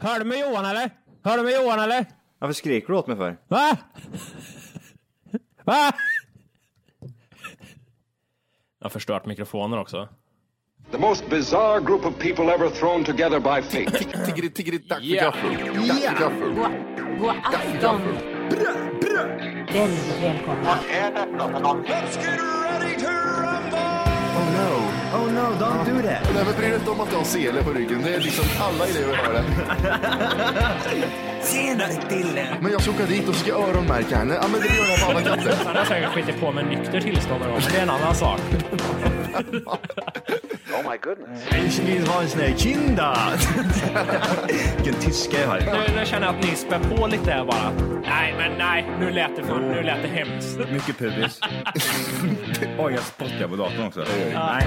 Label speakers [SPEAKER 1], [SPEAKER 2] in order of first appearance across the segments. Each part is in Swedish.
[SPEAKER 1] Hör du med Johan eller? Hör du med Johan eller?
[SPEAKER 2] Varför skriker du åt mig för?
[SPEAKER 1] Va? Va? Jag har förstört mikrofoner också.
[SPEAKER 3] The most bizarre group of people ever thrown together by fate.
[SPEAKER 4] Tiggeri, tiggeri, tack för
[SPEAKER 1] Yeah.
[SPEAKER 4] gaffel. Tack för gaffel.
[SPEAKER 5] God, god afton. Väldigt välkomna.
[SPEAKER 4] Oh no, oh no, don't do that. Nej, men bry dig inte om att jag har sele på ryggen. Det är liksom alla elever har det. Senare killen. Men jag ska åka dit och ska öronmärka henne. Ja, men det gör jag på alla katter.
[SPEAKER 1] Han har säkert skitit på med nykter tillstånd någon gång, men det är en annan sak.
[SPEAKER 6] Ich vill ha en sån här kinda. Vilken tyska jag har.
[SPEAKER 1] Nu, nu känner jag att ni spär på lite här bara. Nej, men nej, nu lät det, för, nu lät det hemskt.
[SPEAKER 6] Mycket pubis. Oj, jag spottar på datorn också. Nej.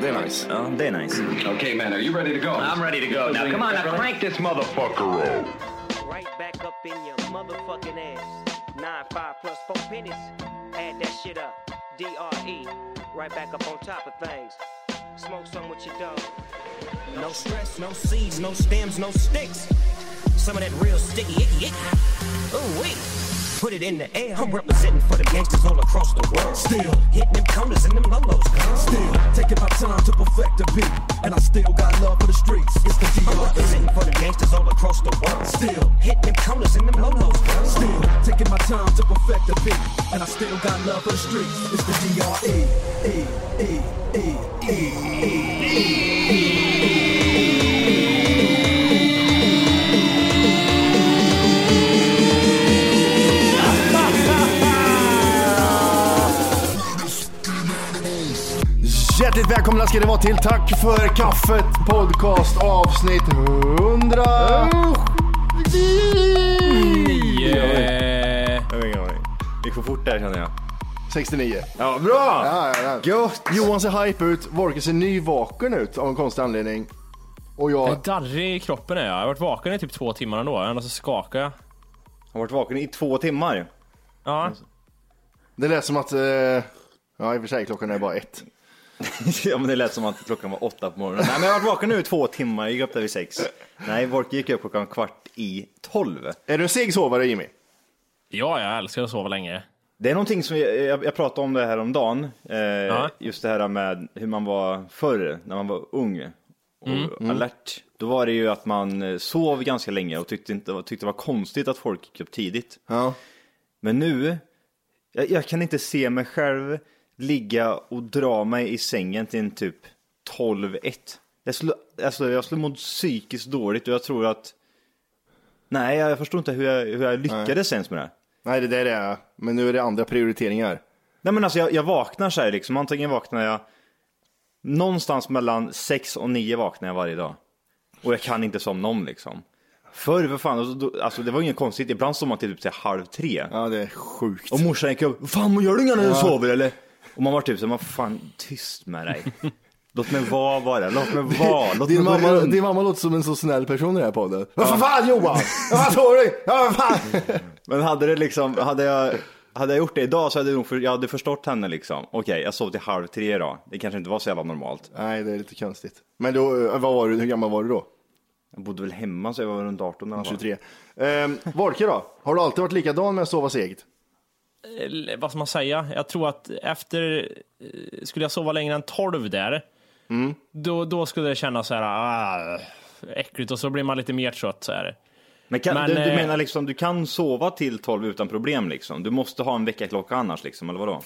[SPEAKER 4] Det är nice.
[SPEAKER 6] Ja, Mm, det är nice. Mm.
[SPEAKER 3] okay, man, are you ready to go?
[SPEAKER 7] I'm ready to go. Now, come on, now crank this motherfucker up.
[SPEAKER 8] Right back up in your motherfucking ass. Nine five plus four pennies. Add that shit up. D R E. Right back up on top of things. Smoke some with your dog. No stress, no seeds, no stems, no sticks. Some of that real sticky icky icky. Ooh wait. Put it in the air. I'm representing for the gangsters all across the world. Still hitting them corners and them lolos. Girl.
[SPEAKER 9] Still taking my time to perfect the beat, and I still got love for the streets. It's the
[SPEAKER 8] I'm
[SPEAKER 9] DRE.
[SPEAKER 8] representing for the gangsters all across the world.
[SPEAKER 9] Still,
[SPEAKER 8] hitting them corners and them lolos. Girl.
[SPEAKER 9] still taking my time to perfect the beat, and I still got love for the streets. It's the DRE. E, E, E, E, E, E.
[SPEAKER 4] Hjärtligt välkomna ska ni vara till Tack för kaffet podcast avsnitt 100.
[SPEAKER 1] eh,
[SPEAKER 2] Jag har ingen aning. Det gick för fort där känner jag.
[SPEAKER 4] 69.
[SPEAKER 2] Ja, bra!
[SPEAKER 4] Ja, ja, ja.
[SPEAKER 2] Gött!
[SPEAKER 4] Johan ser hype ut, Vorke ser nyvaken ut av en konstig anledning. Och jag...
[SPEAKER 1] Jag är darrig i kroppen är jag. Jag har varit vaken i typ två timmar ändå. Ändå så skakar jag.
[SPEAKER 2] Har varit vaken i två timmar.
[SPEAKER 1] Ja.
[SPEAKER 4] Det lät som att... Eh, ja, i och för sig, klockan är bara ett.
[SPEAKER 2] ja, men det lät som att klockan var åtta på morgonen. Nej, men jag har varit vaken nu i två timmar. Jag gick upp där vid sex. Nej, Volker gick upp klockan kvart i tolv.
[SPEAKER 4] Är du en seg sovare, Jimmy?
[SPEAKER 1] ja, jag älskar att sova länge.
[SPEAKER 2] Det är någonting som jag, jag, jag pratade om det här om dagen. Eh,
[SPEAKER 1] Ja.
[SPEAKER 2] Just det här med hur man var förr, när man var ung och alert. Då var det ju att man eh, sov ganska länge och tyckte, inte, tyckte det var konstigt att folk gick upp tidigt.
[SPEAKER 4] Ja.
[SPEAKER 2] Men nu, jag, jag kan inte se mig själv ligga och dra mig i sängen till en typ 12-1. Jag skulle, alltså, jag skulle må psykiskt dåligt och jag tror att, nej jag förstår inte hur jag, hur jag lyckades ens med det här.
[SPEAKER 4] Nej, det där är... Men nu är det andra prioriteringar.
[SPEAKER 2] Nej men alltså jag, jag vaknar så här liksom, antingen vaknar jag någonstans mellan 6 och 9 vaknar jag varje dag. Och jag kan inte somna om liksom. Förr, för fan, alltså, då, alltså det var inget konstigt, ibland sov man till typ så här halv tre.
[SPEAKER 4] Ja, det är sjukt.
[SPEAKER 2] Och morsan gick upp, fan vad gör du när du sover eller? Och man var typ såhär, fan tyst med dig. Låt mig vara bara, låt mig vara, låt mig
[SPEAKER 4] Din
[SPEAKER 2] gå
[SPEAKER 4] mamma,
[SPEAKER 2] runt.
[SPEAKER 4] din mamma låter som en så snäll person i den här podden. Vad för fan Johan! Vad tror du? Ja, vad fan!
[SPEAKER 2] Men hade det liksom, hade jag, hade jag gjort det idag så hade jag nog, för, jag hade förstått henne liksom. Okej, jag sov till halv tre idag, det kanske inte var så jävla normalt.
[SPEAKER 4] Nej, det är lite konstigt. Men då, eh, vad var du, hur gammal var du då?
[SPEAKER 2] Jag bodde väl hemma så jag var runt 18 eller
[SPEAKER 4] 23. Ehm, Volke då? Har du alltid varit likadan med att sova segt?
[SPEAKER 1] Eller, Vad ska man säga? Jag tror att efter... eh, Skulle jag sova längre än 12 där,
[SPEAKER 2] Mm.
[SPEAKER 1] då, då skulle det kännas så här... Ah, äckligt och så blir man lite mer trött så här.
[SPEAKER 2] Men, kan,
[SPEAKER 1] Men,
[SPEAKER 2] du, du
[SPEAKER 1] eh,
[SPEAKER 2] menar liksom, du kan sova till 12 utan problem liksom? Du måste ha en väckarklocka annars liksom, eller vadå?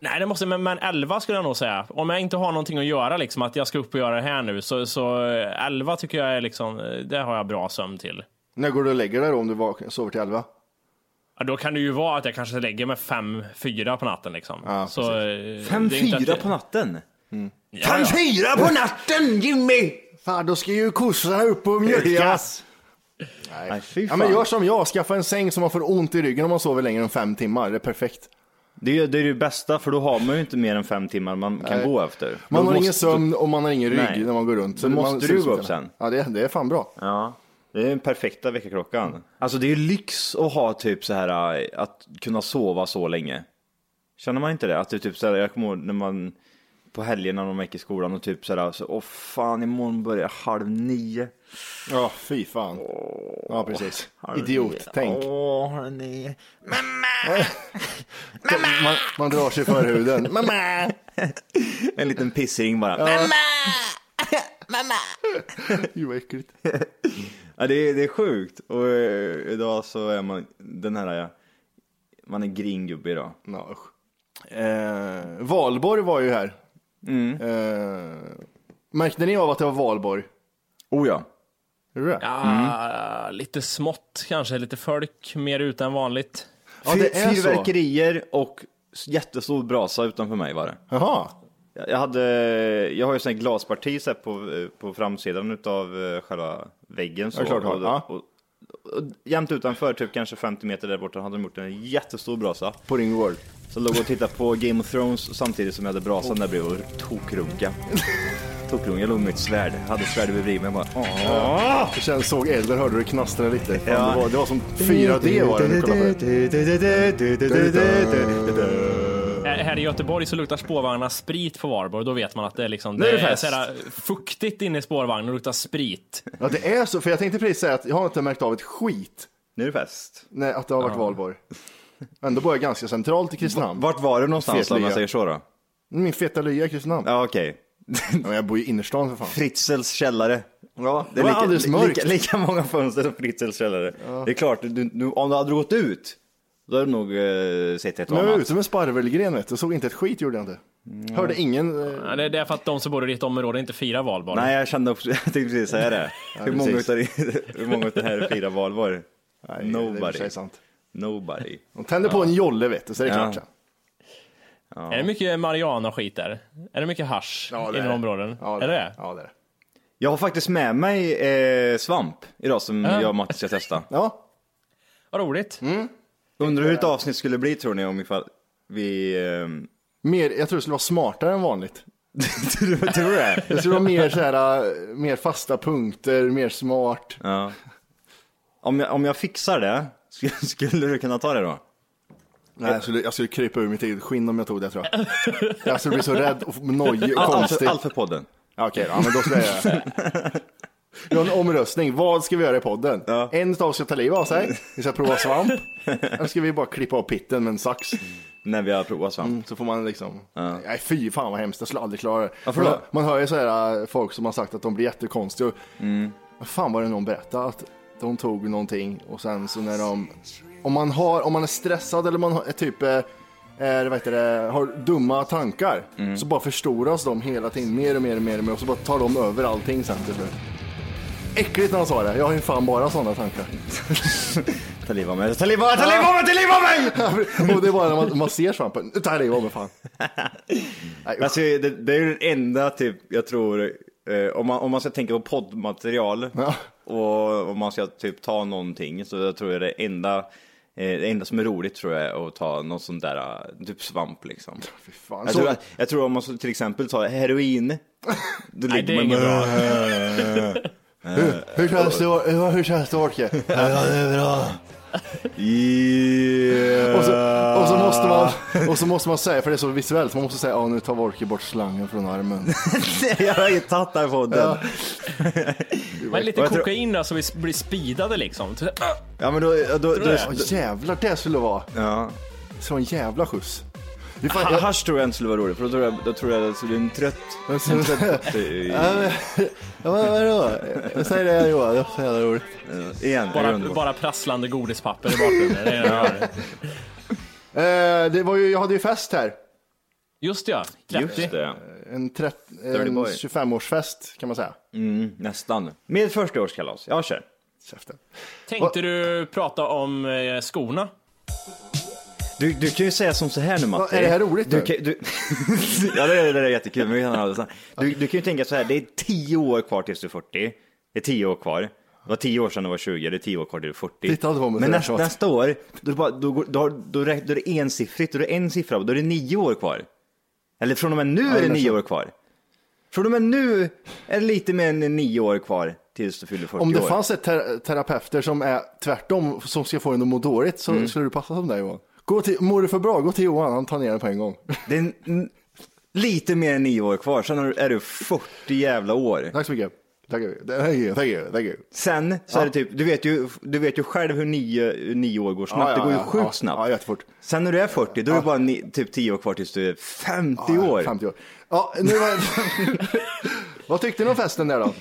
[SPEAKER 1] Nej, det måste, men, men 11 skulle jag nog säga. Om jag inte har någonting att göra, liksom, att jag ska upp och göra det här nu, så, så eh, 11 tycker jag är liksom, eh, det har jag bra sömn till.
[SPEAKER 4] När går du och lägger dig då om du vaknar, sover till elva?
[SPEAKER 1] Ja, då kan det ju vara att jag kanske lägger mig 5-4 på natten. Liksom.
[SPEAKER 4] Ja,
[SPEAKER 1] så, eh,
[SPEAKER 2] Fem,
[SPEAKER 1] det är inte
[SPEAKER 2] fyra
[SPEAKER 1] att-
[SPEAKER 2] på natten?
[SPEAKER 1] Ja, ja.
[SPEAKER 2] fyra på natten Jimmy!
[SPEAKER 4] Fan, då ska ju kossorna upp och mjölkas.
[SPEAKER 2] Nej. fy
[SPEAKER 4] Ja,
[SPEAKER 2] fan.
[SPEAKER 4] men gör som jag, skaffa en säng så man får ont i ryggen om man sover längre än fem timmar. Det är perfekt.
[SPEAKER 2] det, är, ju- det är ju det bästa, för då har man ju inte mer än fem timmar man kan gå efter.
[SPEAKER 4] Man
[SPEAKER 2] Då
[SPEAKER 4] har
[SPEAKER 2] måste-
[SPEAKER 4] ingen sömn och man har ingen rygg
[SPEAKER 2] Nej.
[SPEAKER 4] när man går runt.
[SPEAKER 2] Då
[SPEAKER 4] det-
[SPEAKER 2] måste
[SPEAKER 4] man,
[SPEAKER 2] du gå upp sen.
[SPEAKER 4] Ja, det, det är fan bra.
[SPEAKER 2] Ja, det är den perfekta väckarklockan. Alltså det är ju lyx att ha typ så här eh, att kunna sova så länge. Känner man inte det? Att det är typ så här, jag kommer ihåg när man på helgerna när de gick i skolan och typ sådär, så, åh fan imorgon börjar halv nio.
[SPEAKER 4] Ja, fy fan. Ja, precis.
[SPEAKER 2] Halv nio.
[SPEAKER 4] Idiot, tänk.
[SPEAKER 2] Åh, halv nio.
[SPEAKER 4] Man, man drar sig för huden. Mamma!
[SPEAKER 2] En liten pissring bara.
[SPEAKER 4] Gud vad äckligt.
[SPEAKER 2] Ja, det, är, det är sjukt. Och eh, idag så är man den här, ja, man är gringubbe idag.
[SPEAKER 4] No, usch. Eh, Valborg var ju här.
[SPEAKER 2] Mm.
[SPEAKER 4] Eh, märkte ni av att det var valborg?
[SPEAKER 2] Oh ja.
[SPEAKER 4] Gjorde du det?
[SPEAKER 1] Ah, Lite smått kanske, lite folk mer ute än vanligt.
[SPEAKER 4] Ja, det är så.
[SPEAKER 2] Fyrverkerier och s- jättestor brasa utanför mig var det.
[SPEAKER 4] Jaha.
[SPEAKER 2] Jag- Jag, hade, jag har ju sån här glasparti så här på, eh, på framsidan av själva väggen. Så,
[SPEAKER 4] Ja, klart du har.
[SPEAKER 2] och,
[SPEAKER 4] Ja.
[SPEAKER 2] och, och, jämt utanför, typ kanske 50 meter där borta, hade de gjort en jättestor brasa.
[SPEAKER 4] På din gård.
[SPEAKER 2] Så låg och tittade på Game of Thrones samtidigt som jag hade brasan där bredvid och tokrunka. tokrunka, jag låg med ett svärd, jag hade ett svärd över bredvid mig bara. "Åh."
[SPEAKER 4] Jag kände, såg elden, hörde du knastra lite. Fan,
[SPEAKER 2] Ja.
[SPEAKER 4] det, var, det var som 4D var det när du kollade på det.
[SPEAKER 1] Här- Eh, Här i Göteborg så luktar spårvagnarna sprit på Valborg. Då vet man att det är liksom
[SPEAKER 2] Nu är det
[SPEAKER 1] är
[SPEAKER 2] fest.
[SPEAKER 1] så här fuktigt inne i spårvagnen och luktar sprit.
[SPEAKER 4] Ja, det är så. För jag tänkte precis säga att jag har inte märkt av ett skit.
[SPEAKER 2] Nu är det fest.
[SPEAKER 4] Nej, att det har varit valborg. Ändå bor jag ganska centralt i Kristinehamn.
[SPEAKER 2] Vart var du någonstans då, om jag
[SPEAKER 4] Fetliga.
[SPEAKER 2] säger så då?
[SPEAKER 4] Min feta lya i Kristinehamn. Ja.
[SPEAKER 2] Ja okej.
[SPEAKER 4] men jag bor ju i innerstan för fan.
[SPEAKER 2] Fritzels källare. Ja, det
[SPEAKER 4] var
[SPEAKER 2] lika,
[SPEAKER 4] alldeles mörkt.
[SPEAKER 2] Lika, lika många fönster som Fritzels källare. Det är klart, du, du, om du hade gått ut, då hade du nog eh, sett ett och
[SPEAKER 4] Men jag var
[SPEAKER 2] annat.
[SPEAKER 4] ute med sparvelgren vet du, såg inte ett skit gjorde jag inte. Hörde ingen. eh,
[SPEAKER 1] Ja, Det det är för att de som bor i ditt område inte firar Valborg.
[SPEAKER 2] Nej, jag kände också, jag tänkte precis säga det. hur, många
[SPEAKER 4] precis.
[SPEAKER 2] utav, din- hur många utav det här firar valborg?
[SPEAKER 4] Nej, det är i och för
[SPEAKER 2] Nobody.
[SPEAKER 4] sig sant.
[SPEAKER 2] Nobody.
[SPEAKER 4] De tänder på en jolle vet du, så det är
[SPEAKER 2] Ja.
[SPEAKER 4] klart sen.
[SPEAKER 1] Är det mycket marijuana och skit där? Är det mycket hasch
[SPEAKER 4] Ja,
[SPEAKER 1] inom
[SPEAKER 4] det är det.
[SPEAKER 1] områden?
[SPEAKER 4] Ja,
[SPEAKER 1] är det det?
[SPEAKER 4] Ja, det är det.
[SPEAKER 2] Jag har faktiskt med mig eh, svamp idag som jag och Matti ska testa.
[SPEAKER 4] Ja,
[SPEAKER 1] Vad roligt.
[SPEAKER 2] Mm. Undrar hur ett avsnitt skulle bli tror ni om ifall vi... ehm,
[SPEAKER 4] mer, jag tror det skulle vara smartare än vanligt.
[SPEAKER 2] tror du- tror du det?
[SPEAKER 4] Det skulle vara mer så här, eh, mer fasta punkter, mer smart.
[SPEAKER 2] Ja. Om jag, om jag fixar det, skulle, skulle du kunna ta det då?
[SPEAKER 4] Nej, jag skulle, jag skulle krypa ur mitt eget skinn om jag tog det tror jag. Jag skulle bli så rädd och nojig och
[SPEAKER 2] Allt för,
[SPEAKER 4] konstig.
[SPEAKER 2] allt för podden.
[SPEAKER 4] Ja, Okej, då, ja, men då ska jag göra det. Vi har en omröstning. Vad ska vi göra i podden? En av oss ska ta livet av sig. Vi ska prova svamp. Eller ska vi bara klippa av pitten med en sax?
[SPEAKER 2] När vi har provat svamp.
[SPEAKER 4] Så får man liksom. Nej, fy fan vad hemskt. Jag skulle aldrig klara det.
[SPEAKER 2] Varför
[SPEAKER 4] man,
[SPEAKER 2] då?
[SPEAKER 4] man hör ju så här äh, folk som har sagt att de blir jättekonstiga.
[SPEAKER 2] Mm.
[SPEAKER 4] Vad Fan var det någon berättade att de tog någonting och sen så när de. Om man, har, om man är stressad eller man har, är typ eh, är, vad heter det, har dumma tankar
[SPEAKER 2] Mm.
[SPEAKER 4] så bara förstoras de hela tiden mer och mer och mer och, mer, och så bara tar de över allting sen till slut. Äckligt när han sa det. Jag har ju fan bara sådana tankar.
[SPEAKER 2] Ta livet av mig, ta livet av mig, ta livet av mig, ta livet av mig!
[SPEAKER 4] och det är bara när man, man ser svampen. Ta livet av mig fan. Nej, usch.
[SPEAKER 2] Alltså, det, det är ju den enda typ, jag tror, eh, om, man, om man ska tänka på poddmaterial
[SPEAKER 4] Ja.
[SPEAKER 2] och om man ska typ ta någonting så jag tror jag det enda, eh, det enda som är roligt tror jag är att ta någon sån där, eh, typ svamp liksom.
[SPEAKER 4] Fy fan.
[SPEAKER 2] Jag
[SPEAKER 4] Så-
[SPEAKER 2] tror, att- jag tror om man så till exempel tar heroin, då
[SPEAKER 1] Nej, det är
[SPEAKER 2] man
[SPEAKER 1] inget
[SPEAKER 2] bara-
[SPEAKER 1] bra.
[SPEAKER 4] Hur känns det, hur, hur känns det Orke?
[SPEAKER 2] Yeah.
[SPEAKER 4] Och så, och, så måste man, och så måste man säga, för det är så visuellt, man måste säga ja nu tar Orke bort slangen från armen.
[SPEAKER 2] jag har ju tagit den här podden. Ja.
[SPEAKER 1] Men lite
[SPEAKER 2] Och jag tror-
[SPEAKER 1] kokain då så vi blir speedade liksom.
[SPEAKER 2] men då, då, då,
[SPEAKER 1] det?
[SPEAKER 4] Ja jävlar, det skulle vara
[SPEAKER 2] ja.
[SPEAKER 4] så en jävla skjuts. Det är fan-
[SPEAKER 2] Ha- Hasch tror jag inte skulle vara roligt, för då tror jag, då tror jag att det blir en trött... En trött eh,
[SPEAKER 4] Ja, men vadå? Jag säger det Johan, det är så jävla roligt.
[SPEAKER 2] igen, är
[SPEAKER 1] Bara,
[SPEAKER 2] underbart.
[SPEAKER 1] bara prasslande godispapper i bakgrunden. Det är det jag gör.
[SPEAKER 4] Eh, det var ju, jag hade ju fest här.
[SPEAKER 1] Just det, ja, 30.
[SPEAKER 2] Just det. Mm,
[SPEAKER 4] En, trett-
[SPEAKER 2] Dirty
[SPEAKER 4] en
[SPEAKER 2] boy.
[SPEAKER 4] 25-årsfest kan man säga.
[SPEAKER 2] Nästan. Med förstaårskalas. Jag kör.
[SPEAKER 4] Käften.
[SPEAKER 1] Tänkte du prata om eh, skorna?
[SPEAKER 2] Du, du kan ju säga som så här nu Matti.
[SPEAKER 4] Vad, är det här roligt
[SPEAKER 2] du
[SPEAKER 4] nu?
[SPEAKER 2] kan, du... Ja det är, det är jättekul. Men vi kan ha det sen. du, du kan ju tänka så här, det är 10 år kvar tills du är 40. Det är 10 år kvar. Det var 10 år sedan du var 20, det är 10 år kvar till du är 40.
[SPEAKER 4] Titta inte på
[SPEAKER 2] Men
[SPEAKER 4] mig så där,
[SPEAKER 2] nästa,
[SPEAKER 4] tjat.
[SPEAKER 2] nästa år, då, är det bara, då, går- då, har- då, räk- då är det ensiffrigt, då är det en siffra, då är det 9 år kvar. Eller från och med nu är det
[SPEAKER 4] eller
[SPEAKER 2] 9
[SPEAKER 4] så.
[SPEAKER 2] år kvar. Från och med nu är det lite mer än 9 år kvar tills du fyller 40
[SPEAKER 4] Om det
[SPEAKER 2] år.
[SPEAKER 4] fanns ett ter- terapeuter som är tvärtom, som ska få en att må dåligt, så
[SPEAKER 2] Mm.
[SPEAKER 4] skulle du passa som dig Johan. Gå till, mår du för bra, gå till Johan, han tar ner den på en gång.
[SPEAKER 2] Det är n- Lite mer än nio år kvar, sen har du- är du 40 jävla år.
[SPEAKER 4] Tack så mycket. Tack, thank you, thank you, thank you.
[SPEAKER 2] Sen så är det typ, du vet ju, du vet ju själv hur nio, nio år går snabbt.
[SPEAKER 4] Ja, ja,
[SPEAKER 2] det går ju
[SPEAKER 4] ja,
[SPEAKER 2] sjukt
[SPEAKER 4] ja.
[SPEAKER 2] snabbt.
[SPEAKER 4] Ja, jättefort.
[SPEAKER 2] Sen när du är 40, då är det bara ni, typ 10 år kvar tills du är 50
[SPEAKER 4] Ja,
[SPEAKER 2] år.
[SPEAKER 4] 50 år. Ja, nu var... Vad tyckte ni om festen där då?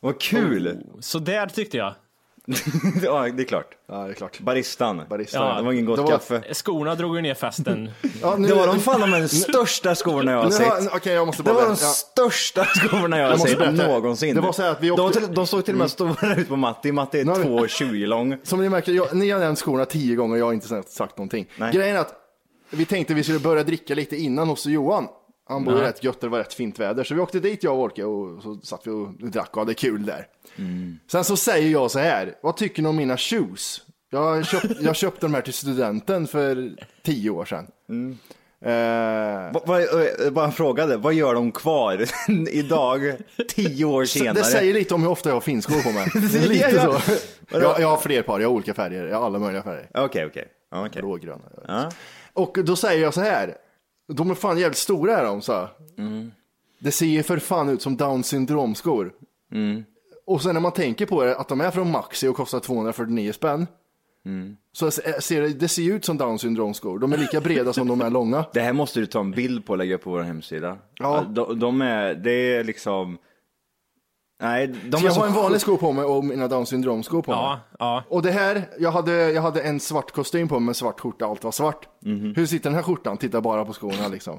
[SPEAKER 2] Vad
[SPEAKER 4] Oh.
[SPEAKER 2] kul!
[SPEAKER 1] Så där tyckte jag.
[SPEAKER 2] ja, det är klart.
[SPEAKER 4] Ja, det är klart.
[SPEAKER 2] Baristan.
[SPEAKER 4] Barista.
[SPEAKER 1] Ja,
[SPEAKER 2] Det var ingen gott
[SPEAKER 4] Det var-
[SPEAKER 2] kaffe.
[SPEAKER 1] Skorna drog ju ner festen.
[SPEAKER 4] Ja, nu,
[SPEAKER 2] Det var de fan de största skorna jag har
[SPEAKER 4] nu har-
[SPEAKER 2] sett.
[SPEAKER 4] Okej, jag måste
[SPEAKER 2] Det
[SPEAKER 4] bara...
[SPEAKER 2] var de
[SPEAKER 4] ja.
[SPEAKER 2] största skorna jag har
[SPEAKER 4] Jag måste
[SPEAKER 2] sett
[SPEAKER 4] berätta.
[SPEAKER 2] någonsin.
[SPEAKER 4] Det var så här att vi
[SPEAKER 2] de,
[SPEAKER 4] åkte-
[SPEAKER 2] till- de såg till och med stora ut på Matti. Matti är
[SPEAKER 4] Nu har vi-
[SPEAKER 2] 2,20 lång.
[SPEAKER 4] Som ni märker, jag, ni har nämnt skorna tio gånger och jag har inte sagt- sagt någonting.
[SPEAKER 2] Nej.
[SPEAKER 4] Grejen är att vi tänkte vi skulle börja dricka lite innan hos Johan. Han bor ju rätt gött, det var rätt fint väder. Så vi åkte dit jag och Orke och så satt vi och drack och hade kul där.
[SPEAKER 2] Mm.
[SPEAKER 4] Sen så säger jag så här, vad tycker ni om mina shoes? Jag, köpt, jag köpte de här till studenten för tio år sedan.
[SPEAKER 2] Mm.
[SPEAKER 4] Eh,
[SPEAKER 2] Va- va- eh, Bara frågade, vad gör de kvar idag, tio år senare?
[SPEAKER 4] det säger lite om hur ofta jag har finskor på mig.
[SPEAKER 2] Ja,
[SPEAKER 4] lite
[SPEAKER 2] ja.
[SPEAKER 4] så. Jag, jag har fler par, jag har olika färger, jag har alla möjliga färger.
[SPEAKER 2] Okej, okej. Ja, okej.
[SPEAKER 4] Blå, gröna. jag vet.
[SPEAKER 2] Ja.
[SPEAKER 4] Och då säger jag så här. De är fan jävligt stora är de, så.
[SPEAKER 2] Mm.
[SPEAKER 4] Det ser ju för fan ut som down syndromskor. Mm. Och sen när man tänker på det, att de är från Maxi och kostar 249 spänn.
[SPEAKER 2] Mm.
[SPEAKER 4] Så ser det, det ser ju ut som down syndromskor. De är lika breda som de är långa.
[SPEAKER 2] Det här måste du ta en bild på och lägga upp på vår hemsida. Alltså,
[SPEAKER 4] Ja.
[SPEAKER 2] De, de är, det är liksom... Nej, de
[SPEAKER 4] Så
[SPEAKER 2] är
[SPEAKER 4] jag
[SPEAKER 2] så
[SPEAKER 4] har en
[SPEAKER 2] sjuk-
[SPEAKER 4] vanlig sko på mig och mina down syndromskor på mig.
[SPEAKER 1] Ja, ja.
[SPEAKER 4] Och det här, jag hade, jag hade en svart kostym på mig med svart skjorta, allt var svart.
[SPEAKER 2] Mhm.
[SPEAKER 4] Hur sitter den här skortan? Titta bara på skorna liksom.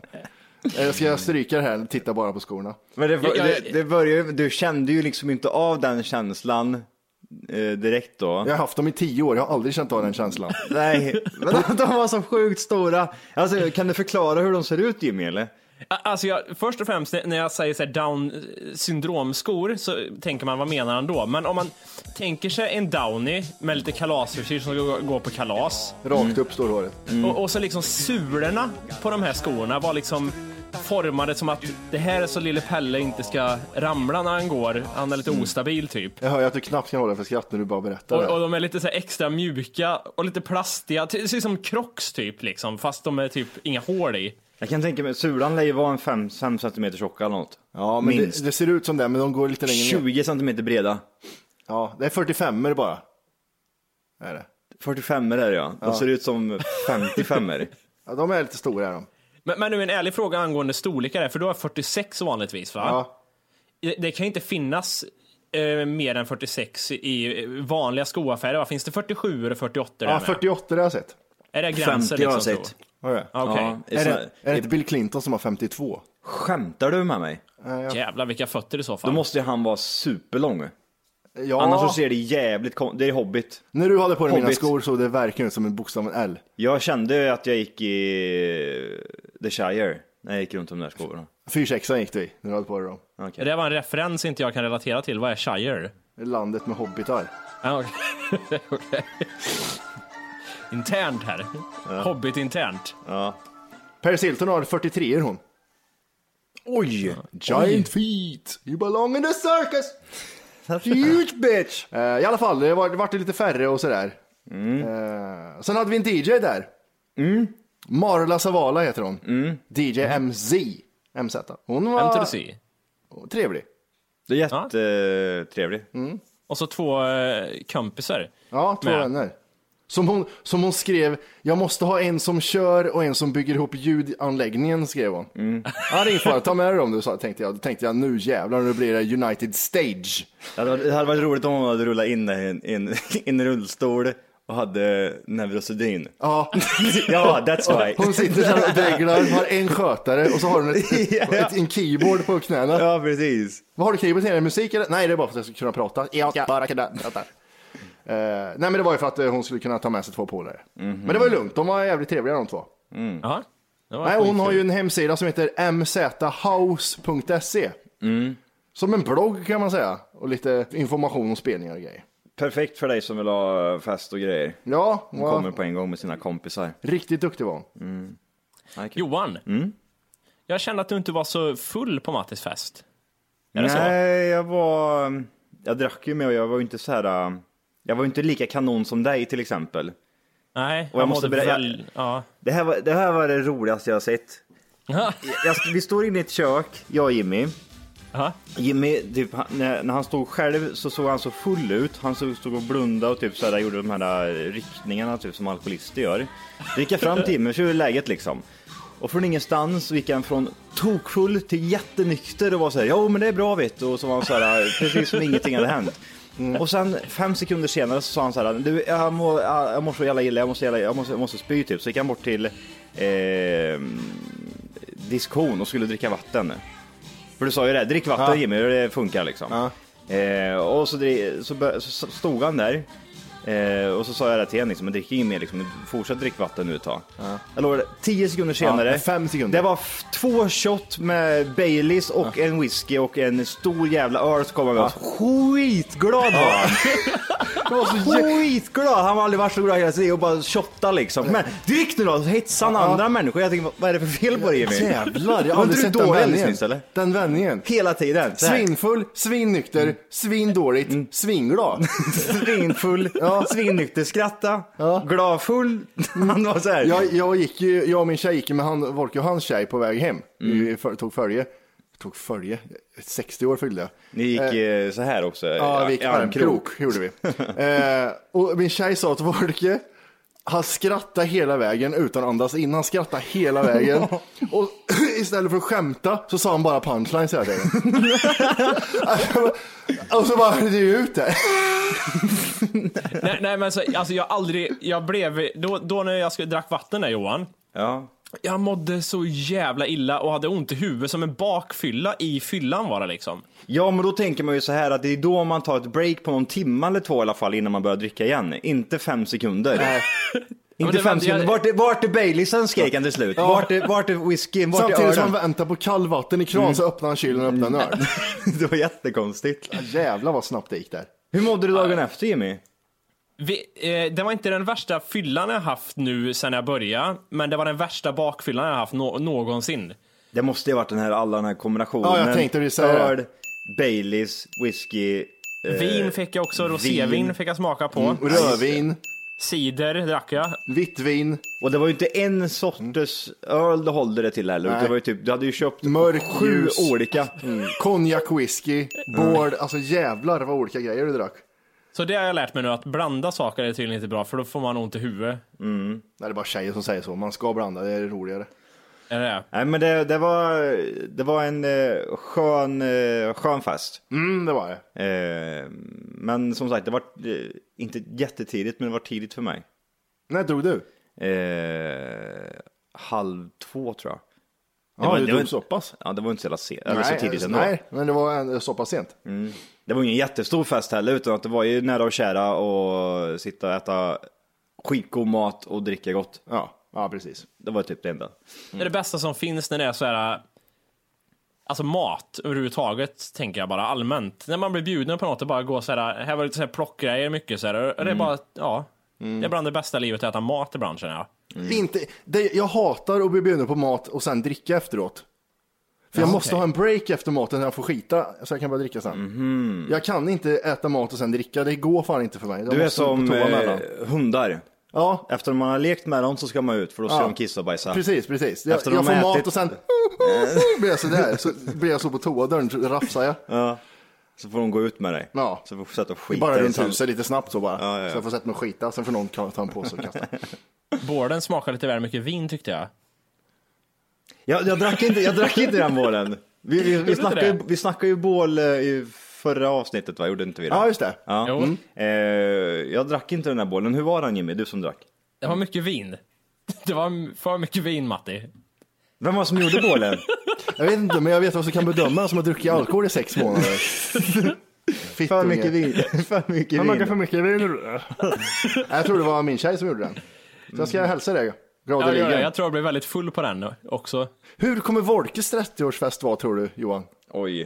[SPEAKER 4] Eh, Ska jag stryka det här? Titta bara på skorna.
[SPEAKER 2] Men det,
[SPEAKER 1] Jag- jag-
[SPEAKER 2] det, det börjar, ju- du kände ju liksom inte av den känslan eh, direkt då.
[SPEAKER 4] Jag har haft dem i tio år, jag har aldrig känt av den känslan.
[SPEAKER 2] Nej, men de, de var så sjukt stora. Alltså, kan du förklara hur de ser ut Jimmy eller?
[SPEAKER 1] Alltså jag, först och främst när jag säger så här down eh, syndromskor så tänker man vad menar han då? Men om man tänker sig en downy med lite kalasfrisyr som går- går på kalas
[SPEAKER 4] Rakt upp står håret.
[SPEAKER 1] och, och så liksom sulorna på de här skorna var liksom formade som att det här är så lille Pelle inte ska ramla när han går. Han är lite ostabil typ.
[SPEAKER 4] Jag hör ju att du knappt kan hålla för skratt när du bara berättar
[SPEAKER 1] Och, och
[SPEAKER 4] det.
[SPEAKER 1] de är lite så här extra mjuka och lite plastiga. Ty- Det ser ut som Crocs typ liksom fast de är typ inga hål i.
[SPEAKER 2] Jag kan tänka mig, sulan lär ju vara en 5 cm tjocka eller något.
[SPEAKER 4] Ja, men
[SPEAKER 2] minst.
[SPEAKER 4] det, det ser ut som det, men de går lite längre ner.
[SPEAKER 2] 20 cm breda.
[SPEAKER 4] Ja, det är 45 er bara. Är det.
[SPEAKER 2] 45 är det ja. De ser ut som 55 er
[SPEAKER 4] Ja, de är lite stora är de.
[SPEAKER 1] Men, men nu en ärlig fråga angående storlekar här, för du är 46 vanligtvis va?
[SPEAKER 4] Ja.
[SPEAKER 1] Det, det kan ju inte finnas eh, mer än 46 i eh, vanliga skoaffärer va? Finns det 47 eller 48 där
[SPEAKER 4] Ja,
[SPEAKER 1] med?
[SPEAKER 4] 48 har jag sett.
[SPEAKER 1] Är det
[SPEAKER 2] 50
[SPEAKER 1] gränsen
[SPEAKER 2] har jag
[SPEAKER 1] liksom?
[SPEAKER 2] sett.
[SPEAKER 1] så?
[SPEAKER 4] Har jag.
[SPEAKER 1] Ja, Okej,
[SPEAKER 2] Ja, i
[SPEAKER 4] Är,
[SPEAKER 2] såna-
[SPEAKER 4] det, är det inte Bill Clinton som har 52?
[SPEAKER 2] Skämtar du med mig?
[SPEAKER 1] jävlar vilka fötter i så fall.
[SPEAKER 2] Då måste ju han vara superlång.
[SPEAKER 4] Ja,
[SPEAKER 2] Annars så ser det jävligt kon- Det är Hobbit.
[SPEAKER 4] när du hade på dig mina
[SPEAKER 2] Hobbit.
[SPEAKER 4] skor såg det verkligen ut som en bokstaven L.
[SPEAKER 2] Jag kände att jag gick i eh, The Shire när jag gick runt de där skorna.
[SPEAKER 4] 46 gick du i när du hade på dig dem.
[SPEAKER 1] Det där var en referens inte jag kan relatera till. Vad är Shire?
[SPEAKER 4] Det är Landet med hobbitar.
[SPEAKER 1] Ja, okej. Okej. internt här. Hobbit internt.
[SPEAKER 4] Paris Hilton har 43 er hon.
[SPEAKER 2] Oj!
[SPEAKER 4] Giant feet, you belong in the circus!
[SPEAKER 2] Huge bitch!
[SPEAKER 4] Eh, I alla fall, det var- det vart lite färre och sådär. Eh, sen hade vi en DJ där. Mm. Marla Savala heter hon. DJ MZ. MZ. Hon var
[SPEAKER 1] MTC.
[SPEAKER 4] trevlig.
[SPEAKER 2] Det är jättetrevligt.
[SPEAKER 4] Mm.
[SPEAKER 1] Och så två eh, kompisar.
[SPEAKER 4] Ja, två
[SPEAKER 1] Men-
[SPEAKER 4] vänner. Som hon, som hon skrev, jag måste ha en som kör och en som bygger ihop ljudanläggningen, skrev hon.
[SPEAKER 2] Mm.
[SPEAKER 4] Ja, det är ingen fara, ta med dig dem du sa, tänkte jag. Då tänkte jag, nu jävlar, nu blir det United Stage.
[SPEAKER 2] Det hade varit- det hade varit roligt om hon hade rullat in där i en, i en, i en rullstol och hade neurosedyn.
[SPEAKER 4] Ja,
[SPEAKER 2] Ja, that's why.
[SPEAKER 4] hon sitter där och dreglar, har en skötare och så har hon ett, ett,
[SPEAKER 2] Ja.
[SPEAKER 4] ett, en keyboard på knäna.
[SPEAKER 2] Ja, precis.
[SPEAKER 4] Vad har du keyboard till? Är det musik eller? Nej, det är bara för att jag ska kunna prata. Jag ska bara kunna prata. Eh, nej, men det var ju för att eh, hon skulle kunna ta med sig två polare.
[SPEAKER 2] Mhm.
[SPEAKER 4] Men det var ju lugnt, de var jävligt trevliga de två.
[SPEAKER 1] Jaha. Det var
[SPEAKER 4] Nej, hon
[SPEAKER 1] skitkul.
[SPEAKER 4] har ju en hemsida som heter mzhouse.se. Som en blogg kan man säga. Och lite information om spelningar och grejer.
[SPEAKER 2] Perfekt för dig som vill ha fest och grejer.
[SPEAKER 4] Ja, hon Mm.
[SPEAKER 2] Hon
[SPEAKER 4] var
[SPEAKER 2] kommer på en gång med sina kompisar.
[SPEAKER 4] riktigt duktig var hon.
[SPEAKER 1] Johan, jag kände att du inte var så full på Mattis fest. Är det så?
[SPEAKER 2] Nej, jag var... Jag drack ju med och jag var ju inte så här... äh, Jag var ju inte lika kanon som dig till exempel.
[SPEAKER 1] Nej,
[SPEAKER 2] jag måste
[SPEAKER 1] mådde
[SPEAKER 2] berätta-
[SPEAKER 1] väl- Ja.
[SPEAKER 2] Det här var det, här var det roligaste jag har sett. Jag, vi står inne i ett kök, jag och Jimmy.
[SPEAKER 1] Aha.
[SPEAKER 2] Jimmy, typ, han- när, när han stod själv så såg han så full ut. Han stod, stod och blundade och typ så här, gjorde de här eh, ryckningarna typ, som alkoholister gör. Så gick jag fram till Jimmy, så hur är läget liksom? Och från ingenstans så gick han från tokfull till jättenykter och var så här, jo men det är bra vet du. Och så var han så här, eh, precis som ingenting hade hänt. Och sen fem sekunder senare så sa han så här, du, jag, mår, jag mår så jävla illa, jag måste, jävla, jag måste, jag måste spy typ. Så gick han bort till eh, diskon och skulle dricka vatten. För du sa ju det, drick vatten
[SPEAKER 4] Ja.
[SPEAKER 2] Jimmy, det funkar liksom. Eh, och så, dri- så, bör- så stod han där. Eh, och så sa jag det till henne, liksom, men drick inget mer, liksom, fortsätt drick vatten nu ett tag. Jag lovar, det, tio sekunder senare,
[SPEAKER 4] Ja, fem sekunder.
[SPEAKER 2] det var f- två shot med Baileys och en whisky och en stor jävla öl som kom han med. Skitglad var han! Han var så skitglad! Han har aldrig varit så glad i hela sitt liv och bara shotta liksom. Men drick nu då! Så hetsar han andra människor. Jag tänker, vad- vad är det för fel på dig Jimmy?
[SPEAKER 4] Jävlar, jag har
[SPEAKER 2] Var
[SPEAKER 4] aldrig
[SPEAKER 2] inte du
[SPEAKER 4] sett den
[SPEAKER 2] dålig alldeles
[SPEAKER 4] vändningen.
[SPEAKER 2] nyss, eller?
[SPEAKER 4] Den vändningen.
[SPEAKER 2] Hela tiden. Så här.
[SPEAKER 4] Svinfull, svinnykter, svindåligt, svinglad.
[SPEAKER 2] Svinfull, svinnykter, skratta, gladfull. Han var så här.
[SPEAKER 4] Jag, jag, gick ju, jag och min tjej gick ju med han, Volke och hans tjej på väg hem. Vi för, tog följe. Tog följe? 60 år fyllde jag.
[SPEAKER 2] Ni gick eh, så här också.
[SPEAKER 4] Ja, vi
[SPEAKER 2] i
[SPEAKER 4] gick armkrok gjorde vi. eh, och min tjej sa till Volke, han skrattade hela vägen utan att andas in. Han skrattade hela vägen. och istället för att skämta så sa han bara punchlines hela tiden. och så bara hörde ju ut det.
[SPEAKER 1] nej, nej, men så, alltså jag har aldrig, jag blev, då, då när jag skulle, drack vatten där Johan,
[SPEAKER 2] Ja.
[SPEAKER 1] jag mådde så jävla illa och hade ont i huvudet som en bakfylla i fyllan var det liksom.
[SPEAKER 2] ja, men då tänker man ju så här att det är då man tar ett break på någon timme eller två i alla fall innan man börjar dricka igen. Inte fem sekunder.
[SPEAKER 1] men
[SPEAKER 2] Inte
[SPEAKER 1] det
[SPEAKER 2] fem
[SPEAKER 1] vände jag-
[SPEAKER 2] sekunder. Vart är, vart är Baileysen skrek han till slut. Vart är, vart är whiskyn? Vart är
[SPEAKER 4] Samtidigt som
[SPEAKER 2] ölen?
[SPEAKER 4] han väntar på kallvatten i kran så öppnar han kylen och öppnar en
[SPEAKER 2] Mm.
[SPEAKER 4] öl.
[SPEAKER 2] Det var jättekonstigt.
[SPEAKER 4] Jävlar vad snabbt det gick där.
[SPEAKER 2] Hur mådde du dagen efter Jimmy?
[SPEAKER 1] Vi, eh, det var inte den värsta fyllan jag haft nu sen jag började, men det var den värsta bakfyllan jag haft nå- någonsin.
[SPEAKER 2] Det måste ju ha varit den här, alla den här kombinationen.
[SPEAKER 4] Ja, jag tänkte precis säga det.
[SPEAKER 2] Öl, Baileys, whisky. eh,
[SPEAKER 1] Vin fick jag också, rosévin
[SPEAKER 2] vin. Mm.
[SPEAKER 1] fick jag smaka på.
[SPEAKER 4] Rödvin,
[SPEAKER 1] Cider drack jag.
[SPEAKER 4] vitt vin,
[SPEAKER 2] Och det var ju inte en sorts öl du hållde det till heller. utan Det var ju typ, du hade ju köpt
[SPEAKER 4] Mörk,
[SPEAKER 2] sju
[SPEAKER 4] ljus.
[SPEAKER 2] olika. Mm.
[SPEAKER 4] konjak, whisky, bård. Alltså jävlar vad olika grejer du drack.
[SPEAKER 1] Så det har jag lärt mig nu, att blanda saker är tydligen inte bra, för då får man ont i huvudet.
[SPEAKER 4] Nej, det är bara tjejer som säger så. Man ska blanda, det är roligare.
[SPEAKER 1] Är det?
[SPEAKER 2] Nej men det, det, var, det var en eh, skön, eh, skön fest.
[SPEAKER 4] Mm, det var det.
[SPEAKER 2] Eh, men som sagt, det var eh, inte jättetidigt men det var tidigt för mig.
[SPEAKER 4] När drog du?
[SPEAKER 2] Eh, halv två tror jag.
[SPEAKER 4] Ja,
[SPEAKER 2] var-
[SPEAKER 4] du
[SPEAKER 2] det
[SPEAKER 4] drog
[SPEAKER 2] var-
[SPEAKER 4] så pass.
[SPEAKER 2] Ja det var inte så jävla sent, eller så tidigt ändå.
[SPEAKER 4] nej, men det var en, så pass sent.
[SPEAKER 2] Det var ingen jättestor fest heller utan att det var ju nära och kära och sitta och äta skitgod mat och dricka gott.
[SPEAKER 4] Ja, ja precis.
[SPEAKER 2] Det var typ det enda.
[SPEAKER 1] Det är det bästa som finns när det är så här. Alltså mat överhuvudtaget tänker jag bara allmänt. När man blir bjuden på något och bara gå så här, här var lite så här plockgrejer mycket så här. Och det är bara, ja. Det är bland det bästa livet att äta mat i branschen ja.
[SPEAKER 2] Mm.
[SPEAKER 4] Inte, det, jag hatar att bli bjuden på mat och sen dricka efteråt. För jag
[SPEAKER 1] Ja,
[SPEAKER 4] måste
[SPEAKER 1] okej.
[SPEAKER 4] ha en break efter maten när jag får skita så jag kan börja dricka sen. Jag kan inte äta mat och sen dricka, det går fan inte för mig. Jag
[SPEAKER 2] Mhm. Du är
[SPEAKER 4] måste på
[SPEAKER 2] som
[SPEAKER 4] toa
[SPEAKER 2] eh,
[SPEAKER 4] mellan.
[SPEAKER 2] hundar.
[SPEAKER 4] Ja,
[SPEAKER 2] Efter man har lekt med dem så ska man ut för då ska
[SPEAKER 4] Ja.
[SPEAKER 2] de kissa och bajsa.
[SPEAKER 4] precis, precis. Jag,
[SPEAKER 2] Efter de
[SPEAKER 4] jag får
[SPEAKER 2] har
[SPEAKER 4] mat
[SPEAKER 2] ätit-
[SPEAKER 4] och sen blir jag sådär. Så blir jag så på toadörren, så rafsar jag.
[SPEAKER 2] Så får de gå ut med dig.
[SPEAKER 4] Ja.
[SPEAKER 2] Så får du sätta och skita
[SPEAKER 4] Bara
[SPEAKER 2] i
[SPEAKER 4] runt
[SPEAKER 2] sand.
[SPEAKER 4] huset lite snabbt så bara.
[SPEAKER 2] Ja, ja, ja.
[SPEAKER 4] Så jag får sätta mig och skita, sen får någon ta en påse och kasta.
[SPEAKER 1] Bården smakar lite väl mycket vin tyckte jag.
[SPEAKER 2] Jag, jag, drack inte, jag drack inte den bålen. Vi, vi, vi,
[SPEAKER 1] inte
[SPEAKER 2] snackade, ju-
[SPEAKER 1] det?
[SPEAKER 2] vi snackade ju bål eh, i förra avsnittet va, gjorde inte vi det?
[SPEAKER 4] Ja, just det.
[SPEAKER 2] Ja.
[SPEAKER 1] Jo.
[SPEAKER 2] Mm. Eh, jag drack inte den här bålen. Hur var den Jimmy, du som drack?
[SPEAKER 1] Det var mycket vin. Det var för mycket vin Matti.
[SPEAKER 2] Vem var det som gjorde bålen?
[SPEAKER 4] Jag vet inte, men jag vet vad som kan bedöma som har druckit alkohol i sex månader.
[SPEAKER 2] för mycket vin. för mycket vin.
[SPEAKER 4] för mycket vin. jag tror det var min tjej som gjorde den. Så jag
[SPEAKER 2] Mm.
[SPEAKER 4] ska hälsa dig
[SPEAKER 1] Ja, jag,
[SPEAKER 4] gladeligen.
[SPEAKER 1] jag tror jag blev väldigt full på den också.
[SPEAKER 4] Hur kommer Wolkes 30-årsfest vara tror du Johan?
[SPEAKER 2] Oj.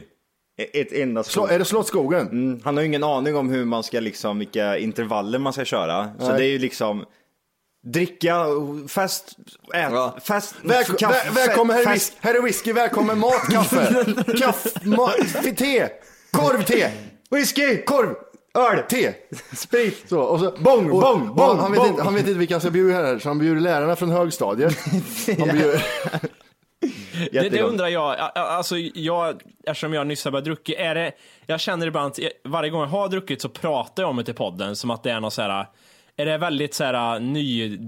[SPEAKER 2] E- Ett enda
[SPEAKER 4] Slå,
[SPEAKER 2] skott.
[SPEAKER 4] är det Slottsskogen?
[SPEAKER 2] Mm, Han har ju ingen aning om hur man ska liksom, vilka intervaller man ska köra. Så
[SPEAKER 4] Nej.
[SPEAKER 2] det är ju liksom dricka, fest, ät,
[SPEAKER 4] Ja.
[SPEAKER 2] fest,
[SPEAKER 4] Väl,
[SPEAKER 2] kaffe,
[SPEAKER 4] väl, välkommen, här är,
[SPEAKER 2] fest.
[SPEAKER 4] whisky, här är whisky, välkommen mat, kaffe, kaffe, ma- te, korv, te, whisky, korv, öl, te, sprit. Så, och så,
[SPEAKER 2] Bong,
[SPEAKER 4] och,
[SPEAKER 2] bong,
[SPEAKER 4] och
[SPEAKER 2] bong,
[SPEAKER 4] han, vet
[SPEAKER 2] bong.
[SPEAKER 4] Inte, han vet inte vilka han ska bjuda här, så han bjuder lärarna från högstadiet. Han bjuder,
[SPEAKER 1] Det, det
[SPEAKER 2] Jättegott.
[SPEAKER 1] undrar jag, A- a- alltså jag, eftersom jag nyss har börjat druckit, är det, jag känner ibland att jag- varje gång jag har druckit så pratar jag om det till podden som att det är något så här, är det väldigt så här eh,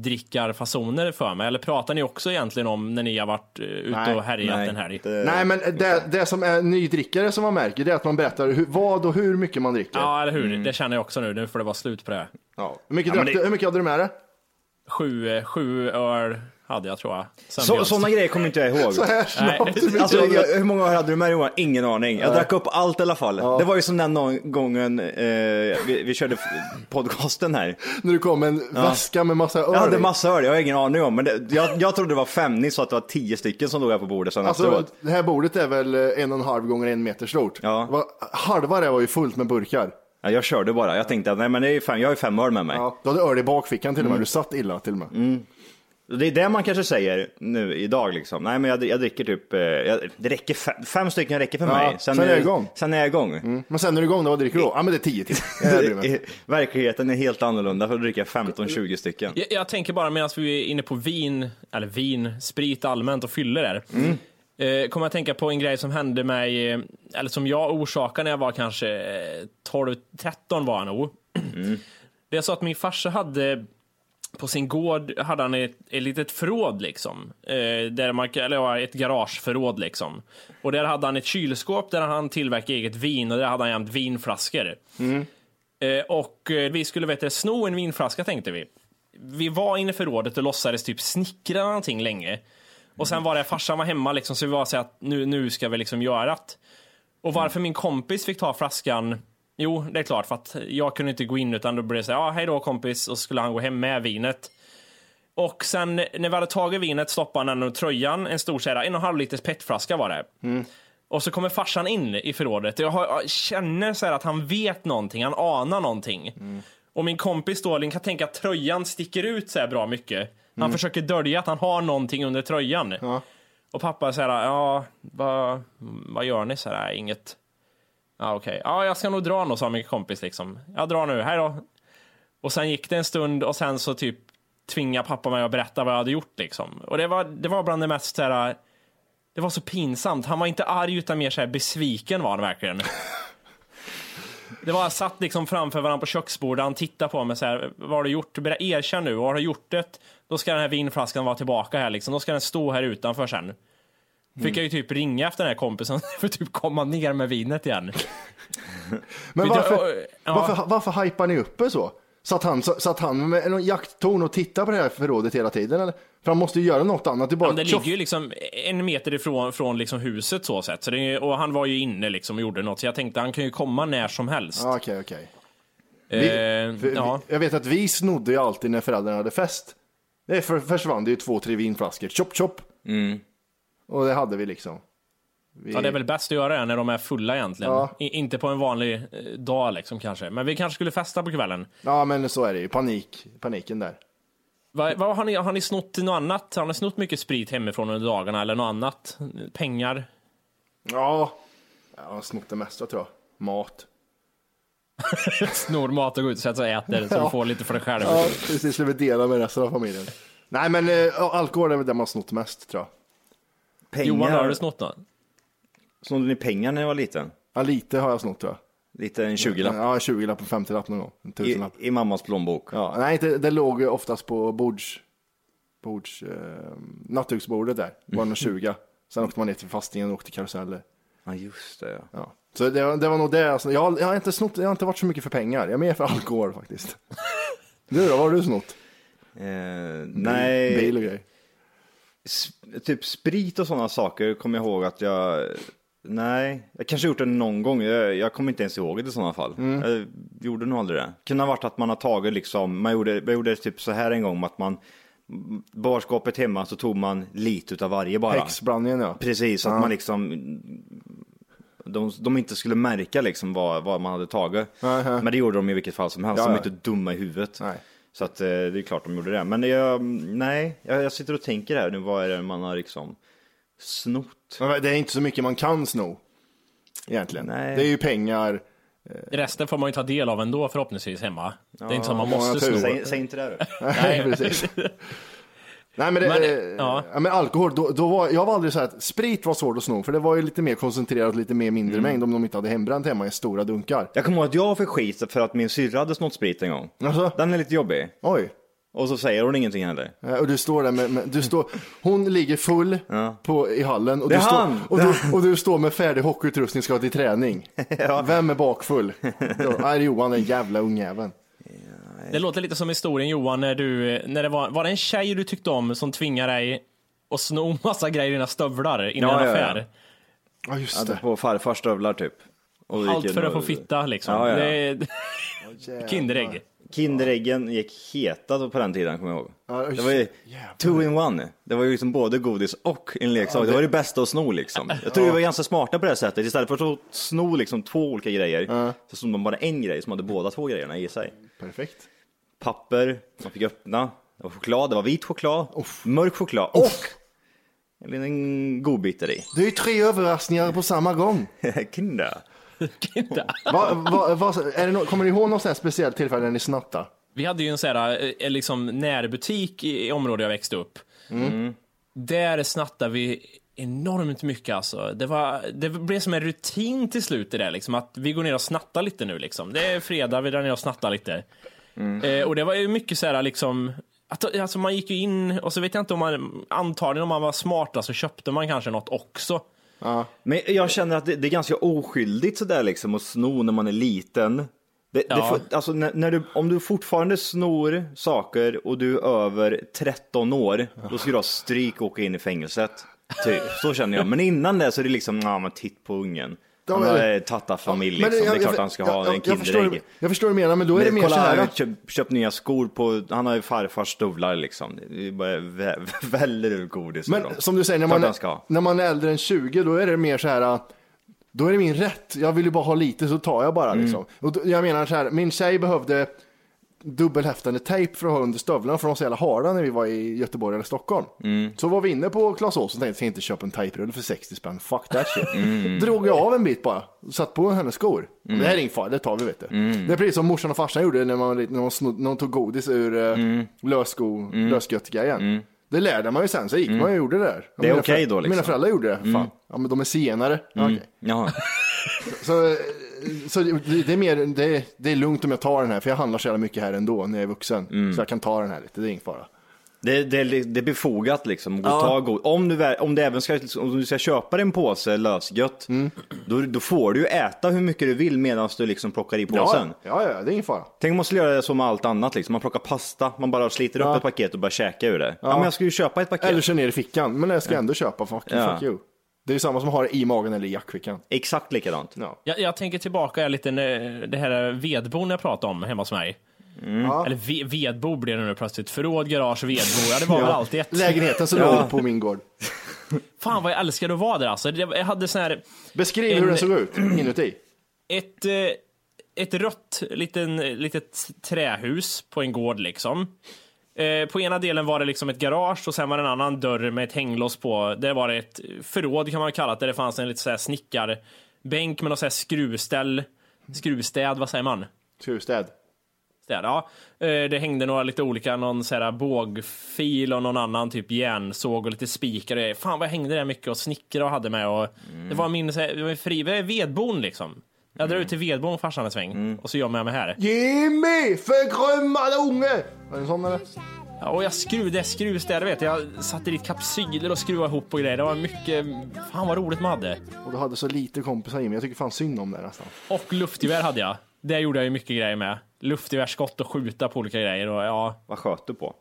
[SPEAKER 1] nydrickarfasoner för mig? Eller pratar ni också egentligen om när ni har varit eh, ute
[SPEAKER 2] Nej,
[SPEAKER 1] och härjat
[SPEAKER 2] nej,
[SPEAKER 1] en helg?
[SPEAKER 2] det-
[SPEAKER 4] Nej, men det, det som är nydrickare som man märker, det är att man berättar hur, vad och hur mycket man dricker.
[SPEAKER 1] Ja, eller hur?
[SPEAKER 2] Mm.
[SPEAKER 1] Det känner jag också nu, nu får det vara slut på det.
[SPEAKER 4] Ja. Hur, mycket
[SPEAKER 2] Ja, men
[SPEAKER 4] drack
[SPEAKER 2] det-
[SPEAKER 4] du, hur mycket hade du med dig?
[SPEAKER 1] Sju, eh, sju öl hade jag tror jag. Sen
[SPEAKER 2] Så,
[SPEAKER 1] bjöds-
[SPEAKER 2] sådana grejer kommer inte jag ihåg.
[SPEAKER 4] Så här
[SPEAKER 1] Nej,
[SPEAKER 4] snabbt. hur mycket
[SPEAKER 2] Alltså,
[SPEAKER 4] hade du-
[SPEAKER 2] jag, hur många år hade du med dig Johan? Ingen aning. Jag drack upp allt i alla fall. Det var ju som den någon gången eh, vi, vi körde f- podcasten här.
[SPEAKER 4] När du kom med en väska med massa öl
[SPEAKER 2] Jag hade
[SPEAKER 4] i.
[SPEAKER 2] massa öl, jag har ingen aning om. Men det, jag, jag trodde det var fem, ni sa att det var tio stycken som låg här på bordet sen
[SPEAKER 4] Alltså,
[SPEAKER 2] efteråt.
[SPEAKER 4] det här bordet är väl eh, en och en halv gånger en meter stort.
[SPEAKER 2] Ja.
[SPEAKER 4] Det Var, halva det var ju fullt med burkar.
[SPEAKER 2] Ja, jag körde bara, jag tänkte att nej men det är ju fem, jag har ju fem öl med mig.
[SPEAKER 4] Ja. Du hade öl i bakfickan till och
[SPEAKER 2] Mm.
[SPEAKER 4] med, du satt illa till och med.
[SPEAKER 2] Det är det man kanske säger nu idag liksom. Nej men jag, jag dricker typ, eh, jag, det räcker fem, fem stycken räcker för
[SPEAKER 4] Ja,
[SPEAKER 2] mig.
[SPEAKER 4] sen är jag
[SPEAKER 2] eh,
[SPEAKER 4] igång.
[SPEAKER 2] Sen är jag igång.
[SPEAKER 4] Mm. Men sen när du är igång, då, vad dricker du då? Ja men det är tio till. Det här bryr jag mig inte.
[SPEAKER 2] Verkligheten är helt annorlunda, för då dricker jag 15-20 stycken.
[SPEAKER 1] Jag, jag tänker bara medan vi är inne på vin, eller vin, sprit allmänt och fyller där. Eh, kommer jag tänka på en grej som hände mig, eh, eller som jag orsakade när jag var kanske eh, 12-13 var jag nog. Det är så att min farsa hade på sin gård hade han ett, ett litet förråd liksom. Eh, där man, eller ja, ett garageförråd liksom. Och där hade han ett kylskåp där han tillverkade eget vin och där hade han jämt vinflaskor. Eh, och eh, vi skulle vet du, sno en vinflaska tänkte vi. Vi var inne i förrådet och låtsades typ snickra eller någonting länge. Och sen var det farsan var hemma liksom så vi var så här att nu, nu ska vi liksom göra det. Och varför min kompis fick ta flaskan Jo, det är klart för att jag kunde inte gå in utan då blev det så här, ja hej då kompis och så skulle han gå hem med vinet. Och sen när vi hade tagit vinet stoppade han den under tröjan, en stor så här, en och en halv liters petflaska var det. Och så kommer farsan in i förrådet. Jag, har, jag känner så här att han vet någonting, han anar någonting. Och min kompis Stalin kan tänka att tröjan sticker ut så här bra mycket. Han försöker dölja att han har någonting under tröjan. Och pappa säger ja, vad, vad gör ni? Så här, inget. Ja, okej. Ja, jag ska nog dra nu, sa min kompis liksom. Jag drar nu, hej då. Och sen gick det en stund och sen så typ tvingade pappa mig att berätta vad jag hade gjort liksom. Och det var, det var bland det mest så här, det var så pinsamt. Han var inte arg utan mer så här besviken var han verkligen. Det var, jag satt liksom framför varandra på köksbordet, han tittade på mig så här, vad har du gjort? Börja erkänn nu, vad har du gjort det? Då ska den här vinflaskan vara tillbaka här liksom, då ska den stå här utanför sen. Fick jag ju typ ringa efter den här kompisen för att typ komma ner med vinet igen.
[SPEAKER 4] Men
[SPEAKER 1] Vi drar-
[SPEAKER 4] varför,
[SPEAKER 1] ja.
[SPEAKER 4] varför, varför hypar ni upp er så? Satt han, satt han med någon jakttorn och tittade på det här förrådet hela tiden? Eller? För han måste ju göra något annat. Det är bara
[SPEAKER 1] Ja, men det
[SPEAKER 4] tjoff.
[SPEAKER 1] ligger ju liksom en meter ifrån från liksom huset så sett. Så det, är- och han var ju inne liksom och gjorde något, så jag tänkte han kan ju komma när som helst.
[SPEAKER 4] Ja, Okej, okej.
[SPEAKER 1] Eh,
[SPEAKER 4] För
[SPEAKER 1] ja.
[SPEAKER 4] vi- Jag vet att vi snodde ju alltid när föräldrarna hade fest. Det för, försvann det ju två, tre vinflaskor. Chop, chop. Och det hade vi liksom. Vi,
[SPEAKER 1] Mm. ja, det är väl bäst att göra det när de är fulla egentligen. I, inte på en vanlig eh, dag liksom kanske. Men vi kanske skulle festa på kvällen.
[SPEAKER 4] ja, men så är det ju. Panik, paniken där.
[SPEAKER 1] Va, va, har, ni, har ni snott något annat? Har ni snott mycket sprit hemifrån under dagarna eller något annat? Pengar?
[SPEAKER 4] Ja, jag har snott det mesta tror jag. Mat.
[SPEAKER 1] Snor mat och går ut och sätter sig och äter så du får lite för dig själv.
[SPEAKER 4] Ja, precis. Slipper dela med resten av familjen. Nej, men eh, alkohol är väl det man har snott mest tror jag.
[SPEAKER 2] Pengar,
[SPEAKER 1] Johan, har du snott något?
[SPEAKER 2] snodde ni pengar när jag var liten?
[SPEAKER 4] Ja, lite har jag snott tror jag.
[SPEAKER 2] Lite en 20-lapp
[SPEAKER 4] Ja, en 20-lapp och 50-lapp någon gång. En
[SPEAKER 2] i,
[SPEAKER 4] tusenlapp.
[SPEAKER 2] i mammas plånbok.
[SPEAKER 4] Ja, nej, inte, det låg ju oftast på bords, bords, eh, nattduksbordet där. Det var någon 20. Sen åkte man ner till fastingen och åkte karuseller.
[SPEAKER 2] Ja just det ja.
[SPEAKER 4] Ja. Så det, var- det var nog det. jag snott. Jag, har- jag, har inte snott, jag har inte varit så mycket för pengar. Jag är mer för alkohol faktiskt. Du då, vad har du snott?
[SPEAKER 2] Eh, nej,
[SPEAKER 4] Bil och grejer.
[SPEAKER 2] s- typ sprit och sådana saker kommer jag ihåg att jag... Nej, jag kanske gjort det någon gång. Jag, jag kommer inte ens ihåg det i sådana fall.
[SPEAKER 4] Mm.
[SPEAKER 2] Jag gjorde nog aldrig det. Kunde ha varit att man har tagit liksom, man gjorde, man gjorde typ så här en gång med att man, barskåpet hemma så tog man lite utav varje bara.
[SPEAKER 4] Häxblandningen ja.
[SPEAKER 2] Precis, att
[SPEAKER 4] Ja.
[SPEAKER 2] man liksom... De, de inte skulle märka liksom vad, vad man hade tagit.
[SPEAKER 4] Aha.
[SPEAKER 2] Men det gjorde de i vilket fall som helst.
[SPEAKER 4] Ja,
[SPEAKER 2] de är
[SPEAKER 4] ja.
[SPEAKER 2] inte dumma i huvudet.
[SPEAKER 4] Nej.
[SPEAKER 2] Så att, eh, det är klart de gjorde det. Men jag, nej, jag, jag sitter och tänker här nu. Vad är det man har liksom snott?
[SPEAKER 4] Men Det är inte så mycket man kan sno. Egentligen.
[SPEAKER 2] Nej.
[SPEAKER 4] Det är ju pengar.
[SPEAKER 1] Resten får man ju ta del av ändå förhoppningsvis hemma. det är inte som man
[SPEAKER 4] många
[SPEAKER 1] måste
[SPEAKER 4] tur.
[SPEAKER 1] sno.
[SPEAKER 2] Säg, säg inte det du.
[SPEAKER 4] Nej, precis. Nej men, det,
[SPEAKER 1] Men,
[SPEAKER 4] eh,
[SPEAKER 1] ja.
[SPEAKER 4] ja. men alkohol, då, då var, jag var aldrig så här att sprit var svårt att sno för det var ju lite mer koncentrerat, lite mer mindre mängd om de inte hade hembränt hemma i stora dunkar.
[SPEAKER 2] Jag kommer ihåg att jag fick skit för att min syrra hade snott sprit en gång.
[SPEAKER 4] Alltså,
[SPEAKER 2] Den är lite jobbig.
[SPEAKER 4] oj.
[SPEAKER 2] Och så säger hon ingenting heller.
[SPEAKER 4] Eh, Och du står där med, med du står, hon ligger full på, i hallen och
[SPEAKER 2] Det
[SPEAKER 4] du,
[SPEAKER 2] är
[SPEAKER 4] står,
[SPEAKER 2] han!
[SPEAKER 4] och,
[SPEAKER 2] Det är
[SPEAKER 4] du, och du står med färdig hockeyutrustning ska till träning. Vem är bakfull? Då, Nej, det är Johan, den jävla ungjäveln.
[SPEAKER 1] Det låter lite som historien Johan, när du, när det var, var det en tjej du tyckte om som tvingade dig att sno massa grejer i dina stövlar innan
[SPEAKER 2] Ja,
[SPEAKER 1] en
[SPEAKER 2] ja, ja.
[SPEAKER 1] affär?
[SPEAKER 4] Ja, just det.
[SPEAKER 2] Alltså På farfars stövlar typ. Och vi gick
[SPEAKER 1] Allt
[SPEAKER 2] in
[SPEAKER 1] för att
[SPEAKER 2] och-
[SPEAKER 1] få fitta liksom.
[SPEAKER 2] Ja, ja.
[SPEAKER 1] Det är... Kinderägg.
[SPEAKER 2] Kinderäggen gick heta då på den tiden kommer jag ihåg.
[SPEAKER 4] Ja,
[SPEAKER 2] det
[SPEAKER 4] just-
[SPEAKER 2] var ju
[SPEAKER 4] jävlar.
[SPEAKER 2] two in one. Det var ju liksom både godis och en leksak. det... var det bästa att sno liksom. Jag tror vi var ganska smarta på det sättet. Istället för att sno liksom två olika grejer så snodde man bara en grej som hade båda två grejerna i sig.
[SPEAKER 4] Perfekt.
[SPEAKER 2] Papper, man fick öppna. Det var choklad, det var vit choklad, mörk choklad och en liten godbit där i.
[SPEAKER 4] Det är ju tre överraskningar på samma gång.
[SPEAKER 2] Kinder.
[SPEAKER 1] Kinder.
[SPEAKER 4] Va, va, va, är det nå- kommer ni ihåg något sånt här speciellt tillfälle när ni snattade?
[SPEAKER 1] Vi hade ju en sån här eh, liksom, närbutik i, i området jag växte upp.
[SPEAKER 2] Mm.
[SPEAKER 1] Där snattade vi enormt mycket alltså. Det, var, det blev som en rutin till slut det där liksom, att vi går ner och snattar lite nu liksom. Det är fredag, vi drar ner och snattar lite.
[SPEAKER 2] Mm.
[SPEAKER 1] Eh, och det var ju mycket så här liksom, att, alltså man gick ju in och så vet jag inte om man, antagligen om man var smarta så köpte man kanske något också.
[SPEAKER 2] Men jag känner att det, det är ganska oskyldigt sådär liksom att sno när man är liten. Det, det
[SPEAKER 1] Ja.
[SPEAKER 2] får- alltså, när, när du, om du fortfarande snor saker och du är över 13 år, då ska du ha stryk och åka in i fängelset. Typ. Så känner jag. Men innan det så är det liksom, ja men titt på ungen. Han
[SPEAKER 4] men-
[SPEAKER 2] har tattarfamilj
[SPEAKER 4] Men
[SPEAKER 2] liksom. Det är klart
[SPEAKER 4] jag-
[SPEAKER 2] han ska
[SPEAKER 4] jag-
[SPEAKER 2] ha
[SPEAKER 4] jag-
[SPEAKER 2] en
[SPEAKER 4] jag förstår,
[SPEAKER 2] Kinderägg.
[SPEAKER 4] jag förstår vad du menar, men då är det mer så
[SPEAKER 2] Kolla, han
[SPEAKER 4] här.
[SPEAKER 2] har köpt, köpt nya skor på, han har ju farfars stövlar liksom. Det är bara vä- väller ur godis. ur dem.
[SPEAKER 4] Men som du säger, när
[SPEAKER 2] Klart
[SPEAKER 4] man,
[SPEAKER 2] han ska ha.
[SPEAKER 4] när man är äldre än 20, då är det mer så här. Då är det min rätt. Jag vill ju bara ha lite, så tar jag bara
[SPEAKER 2] Mm.
[SPEAKER 4] liksom. Och då, jag menar så här, min tjej behövde dubbelhäftande tejp för att ha under stövlarna, för de var så jävla harda när vi var i Göteborg eller Stockholm.
[SPEAKER 2] Mm.
[SPEAKER 4] Så var vi inne på Clas Ohlson och tänkte, ska jag inte köpa en tejprulle för 60 spänn? Fuck that shit.
[SPEAKER 2] Mm.
[SPEAKER 4] Drog jag av en bit bara, och satt på hennes skor. Det här är ingen fara, det tar vi vet du.
[SPEAKER 2] Mm.
[SPEAKER 4] Det är precis som morsan och farsan gjorde när man, var liten, när man, snod, när de tog godis ur mm. lössko,
[SPEAKER 2] Mm.
[SPEAKER 4] lösgöttgrejen. Det lärde man ju sen, så gick man och gjorde det där.
[SPEAKER 2] Det är
[SPEAKER 4] Mina
[SPEAKER 2] okej
[SPEAKER 4] föräldrar-
[SPEAKER 2] då, liksom. Mm.
[SPEAKER 4] Mina föräldrar gjorde det. Fan. Ja, men de är senare. Ja, okej.
[SPEAKER 2] Jaha.
[SPEAKER 4] Så, eh, så det, det är mer, det, det är lugnt om jag tar den här, för jag handlar så jävla mycket här ändå när jag är vuxen. Så jag kan ta den här lite, det är ingen fara.
[SPEAKER 2] Det, det, det är befogat liksom. Att gå och ta god. Om, du, vä- om, du även ska, om du ska köpa dig en påse lösgött,
[SPEAKER 4] Mm.
[SPEAKER 2] då, då får du ju äta hur mycket du vill medan du liksom plockar i påsen.
[SPEAKER 4] ja, ja, det är ingen fara.
[SPEAKER 2] Tänk om man skulle göra det som med allt annat. Liksom. Man plockar pasta, man bara sliter upp ett paket och börjar käka ur det. Ja, men jag ska ju köpa ett paket.
[SPEAKER 4] Eller kör ner i fickan, men jag ska ändå köpa, fuck,
[SPEAKER 2] Ja.
[SPEAKER 4] fuck you. Det är ju samma som att ha det i magen eller i jackfickan.
[SPEAKER 2] Exakt likadant.
[SPEAKER 4] Ja.
[SPEAKER 1] Jag, jag tänker tillbaka lite när det här vedbon jag pratade om hemma hos mig. Eller ve, vedbo blev det nu plötsligt. Förråd, garage, vedbo. Ja, det var väl alltid ett.
[SPEAKER 4] Lägenheten som låg på min gård.
[SPEAKER 1] Fan vad jag älskade att vara där alltså. Det- Jag hade sån här,
[SPEAKER 4] Beskriv
[SPEAKER 1] En-
[SPEAKER 4] hur den såg ut inuti.
[SPEAKER 1] ett, eh, ett rött liten, litet trähus på en gård liksom. Eh, På ena delen var det liksom ett garage och sen var det en annan dörr med ett hänglås på. Där var det ett förråd kan man kalla det, där det fanns en lite så här snickarbänk med något så här skruvställ. Skruvstäd, vad säger man?
[SPEAKER 4] Skruvstäd.
[SPEAKER 1] Där, ja. Eh, Det hängde några lite olika, någon så här bågfil och någon annan typ järnsåg och lite spikar. och grejer. Fan vad jag hängde där mycket och snickra och hade med. Och Det var min, så här, det var min fri, det är vedbon liksom. Jag drar ut till vedbon farsan en sväng och så gör jag med mig här.
[SPEAKER 4] Jimmy, förgrömmade unge! Var det en sån eller?
[SPEAKER 1] Ja, och jag skruvade, jag skruvstädade vet jag. Jag satte dit kapsyler och skruvade ihop och grejer. Det var mycket, fan vad roligt man hade.
[SPEAKER 4] Och du hade så lite kompisar Jimmy, jag tycker fan synd om det nästan.
[SPEAKER 1] Och luftgevär hade jag. Det gjorde jag ju mycket grejer med. Luftgevärsskott och skjuta på olika grejer och ja.
[SPEAKER 2] Vad sköt du på?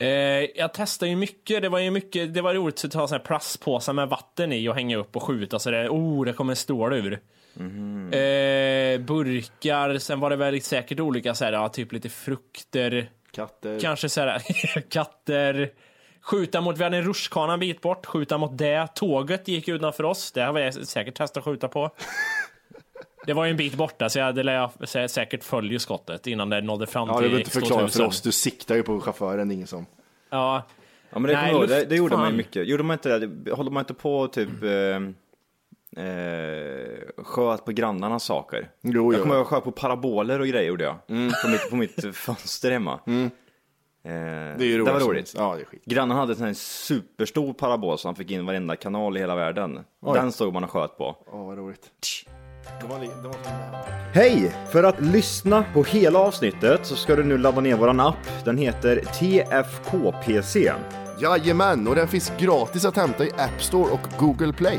[SPEAKER 1] Eh, jag testade ju mycket. Det var ju mycket, det var roligt att ta såna här plastpåsar med vatten i och hänga upp och skjuta så det, oh, det kommer en stål ur.
[SPEAKER 4] Mhm.
[SPEAKER 1] Eh, burkar, sen var det väl säkert olika så här, ja, typ lite frukter,
[SPEAKER 4] Katter.
[SPEAKER 1] kanske så här, katter. Skjuta mot, vi hade en rutschkana en bit bort, skjuta mot det. Tåget gick utanför oss, det har jag säkert testat att skjuta på. Det var ju en bit borta så jag hade lär jag sä- säkert följa skottet innan det nådde fram
[SPEAKER 4] Ja,
[SPEAKER 1] till
[SPEAKER 4] du behöver inte förklara för
[SPEAKER 1] X2000.
[SPEAKER 4] oss, du siktar ju på chauffören, det är ingen som.
[SPEAKER 1] Ja.
[SPEAKER 2] Ja, men det,
[SPEAKER 1] Nej,
[SPEAKER 2] kommer jag ihåg, det,
[SPEAKER 1] luft,
[SPEAKER 2] det gjorde man
[SPEAKER 1] fan.
[SPEAKER 2] ju mycket. Gjorde man inte det? det? Håller man inte på typ eh, eh, sköt på grannarnas saker?
[SPEAKER 4] Jo, jo.
[SPEAKER 2] Mm. jag kommer ihåg att jag sköt på paraboler och grejer gjorde jag. På, mitt, på mitt fönster hemma. det
[SPEAKER 4] Det är
[SPEAKER 2] Mm.
[SPEAKER 4] ju roligt.
[SPEAKER 2] Eh, Det var roligt.
[SPEAKER 4] Ja, det är skit.
[SPEAKER 2] Grannen hade en sån här superstor parabol som han fick in varenda kanal i hela världen. Den stod man och sköt på.
[SPEAKER 4] Åh, vad roligt. Det var, li- det var
[SPEAKER 2] Hej! För att lyssna på hela avsnittet så ska du nu ladda ner våran app. Den heter TFKPC.
[SPEAKER 4] Jajamän, och den finns gratis att hämta i App Store och Google Play.